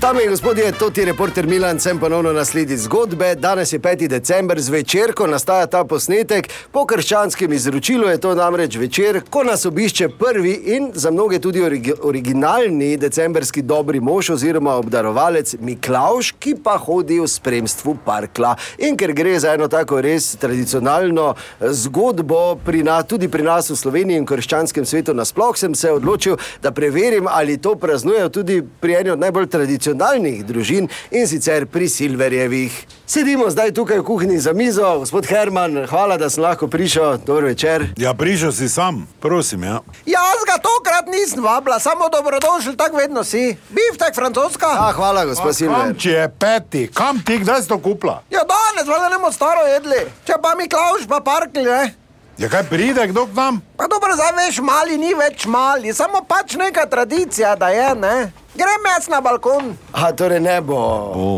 Dame in gospodje, to ti reporter Milan, sem ponovno nasledi zgodbe. Danes je 5. december zvečer, ko nastaja ta posnetek. Po krščanskem izročilu je to namreč večer, ko nas obišče prvi in za mnoge tudi origi originalni decembrski dobri mož oziroma obdarovalec Miklauš, ki pa hodi v spremstvu parkla. In ker gre za eno tako res tradicionalno eh, zgodbo, pri na, tudi pri nas v Sloveniji in krščanskem svetu nasploh, sem se odločil, da preverim, ali to praznujejo tudi pri eni od najbolj tradicionalnih družin in sicer pri Silverjevih. Sedimo zdaj tukaj v kuhinji za mizo, gospod Herman, hvala, da sem lahko prišel, dobro večer. Ja, prišel si sam, prosim. Ja. Jaz ga tokrat nisem vabila, samo dobrodošli, tako vedno si. Biv tak francoska. A, Ja, hvala, gospod Silver. Kam če je peti, kam ti kdaj si to kupla? Ja, danes valjda ne bomo staro jedli. Če pa mi klavš, pa parkli, ne? Ja, kaj pride, kdo k nam? Pa dobro, zdaj veš, mali ni več mali, samo pač neka tradicija, da je, ne? Grem jaz na balkon. A torej ne bo. O,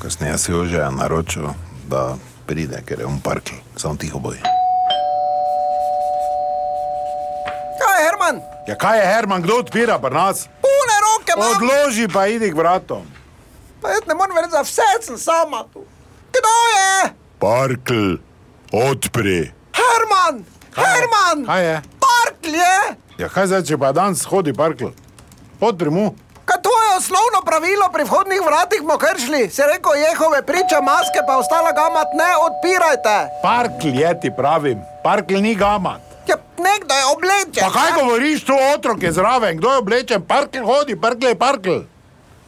kasneje si jo že naročil, da pride, ker je on parki, samo tiho boj. Kaj, Herman? Ja, kaj je Herman, kdo odpira pri nas? Pune roke imam. Odloži pa idi k vratom. Pa jaz ne morem verjeti, za vse sem sama tu. Kdo je? Parkl, odpri. Herman! Herman! Kaj je? Parkli je! Ja, kaj zdaj, če pa danes hodi parkl? Odpri mu. Kaj to je osnovno pravilo pri vhodnih vratih smo kršili? Se reko Jehove priče, maske pa ostala gamat ne odpirajte. Parkl je ti pravim, parkl ni gamat. Ja, nekdo je oblečen. Pa kaj ne? govoriš, tu otrok je zraven, kdo je oblečen, parkl hodi, parkl je parkl.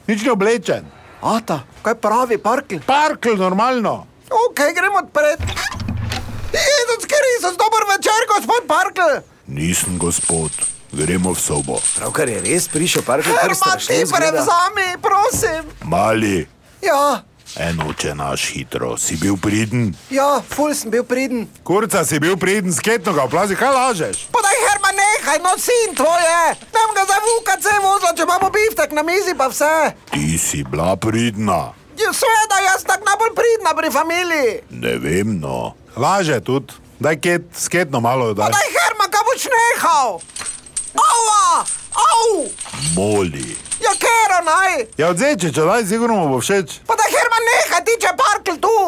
Nič ni oblečen. Ata, kaj pravi parkl? Parkl normalno. Ok, gremo odpred. Jezus Kristus, dober večer, gospod parkl. Nisem gospod, gremo v sobo. Pravkar je res prišel parkrat. Herman, ti prevzami, prosim. Mali, Ja, eno če naš hitro, si bil priden. ja, ful sem bil priden. Kurca si bil priden, sketno ga plazi, kaj lažeš? Pa daj, Herman, nehaj, no sin tvoje. Tam ga za VKC vozila, če imamo biftek na mizi pa vse. Ti si bila pridna. Ja, Seveda, jaz tak najbolj pridna pri familiji. Ne vem, no. Laže tudi, daj ket, sketno malo Pa daj. daj, Herman, ga boš nehal. Ava, au, Moli. ja, kero naj. Ja, odzeče, če daj, sigurno mu bo všeč. Pa da Herman neha, tiče parkl tu.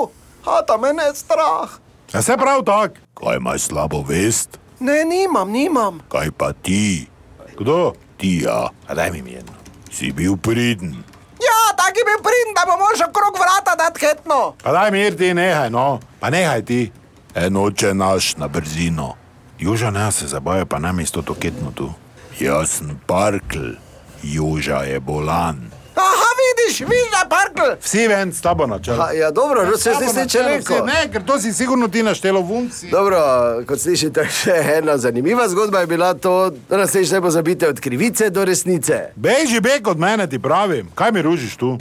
Ata, mene je strah. Ja, se prav tak. Kaj imaš slabo vest? Ne, nimam, nimam. Kaj pa ti? Kdo? Ti, ja. A daj mi eno. Si bil priden. Ja, taki bi pridn, da bo mož okrog vrata dat hetno. A daj mir ti, nehaj, no. Pa nehaj ti. Eno če naš na brzino. Juža ne se zabaja, pa nam isto to ketno tu. Jaz sem parkl, Juža je bolan. Aha, vidiš, vidiš, da je parkl. Vsi ven s tabo na čelu. Ha, ja, dobro, no, se zdaj če rekel. Ne, ker to si sigurno ti naštelo vunci. Dobro, kot slišite, še ena zanimiva zgodba je bila to, da nas več ne pozabite od krivice do resnice. Beži beg od mene, ti pravim. Kaj mi ružiš tu?